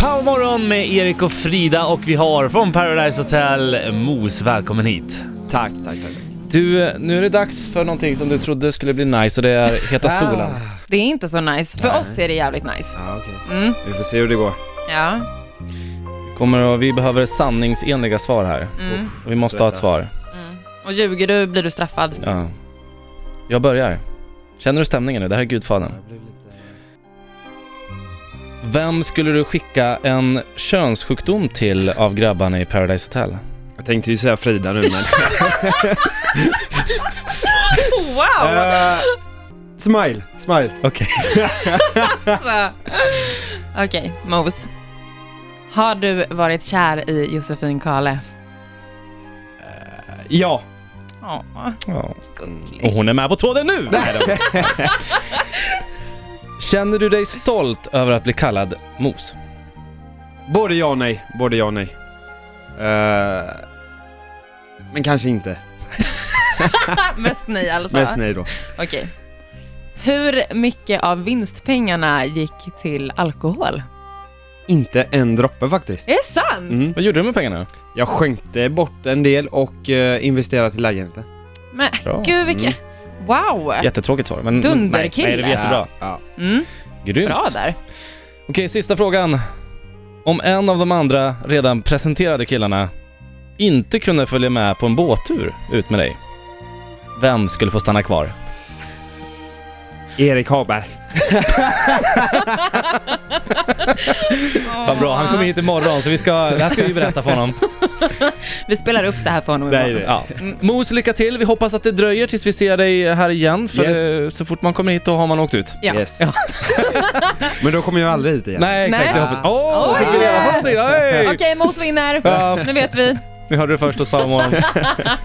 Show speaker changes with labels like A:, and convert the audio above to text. A: Power morgon med Erik och Frida och vi har från Paradise Hotel Mos. Välkommen hit.
B: Tack, tack, tack.
C: Du, nu är det dags för någonting som du trodde skulle bli nice och det är Heta
A: Ah.
C: stolen.
D: Det är inte så nice. För oss är det jävligt nice.
B: Ah, okej.
D: Mm,
B: Vi får se hur det går.
D: ja.
C: Kommer och vi behöver sanningsenliga svar här.
D: Mm,
C: Vi måste ha ett svar.
D: mm. Och ljuger du blir du straffad.
C: Ja. Jag börjar. Känner du stämningen nu? Det här är Gudfadern. Vem skulle du skicka en könssjukdom till av grabbarna i Paradise Hotel?
B: Jag tänkte ju säga Frida nu men...
D: Wow!
B: Eh, smile, smile.
C: Okej.
D: Alltså. Okej, Mos. Har du varit kär i Josefin Kale?
B: Ja.
D: Ja,
C: Ja. Och
D: gulligt.
C: hon är med på tråden nu! Nej då. Känner du dig stolt över att bli kallad mos?
B: Både ja och nej, både ja och nej. Eh, men kanske inte.
D: Mest nej alltså.
B: Mest nej då.
D: Okej. Hur mycket av vinstpengarna gick till alkohol?
B: Inte en droppe faktiskt.
D: Är det sant?
B: Mm.
C: Vad gjorde du med pengarna?
B: Jag skänkte bort en del och eh, investerade till lägenheten.
D: Men
C: Bra.
D: gud vilken...
B: Mm.
D: Wow!
C: Jättetråkigt svar, men...
D: Dunderkille.
C: Nej, nej, det är jättebra.
B: Ja.
D: Mm,
C: Grymt.
D: bra där.
C: Okej, sista frågan. Om en av de andra redan presenterade killarna inte kunde följa med på en båttur ut med dig, vem skulle få stanna kvar?
B: Erik Haberg.
C: Vad bra, han kommer hit imorgon så vi ska, det här ska vi berätta för honom.
D: Vi spelar upp det här för honom
B: Nej,
D: imorgon.
C: Ja. Mos, lycka till. Vi hoppas att det dröjer tills vi ser dig här igen, för
B: Yes.
C: eh, så fort man kommer hit då har man åkt ut.
D: Ja.
B: Yes. men då kommer jag aldrig hit igen.
C: Nej, exakt.
D: Nej.
C: det hoppas- Åh,
D: Oj.
C: fick vi reda på någonting! Oj!
D: Okej, Mos vinner.
C: Ja,
D: Nu vet vi.
C: ni hörde det först hos Powermorgon.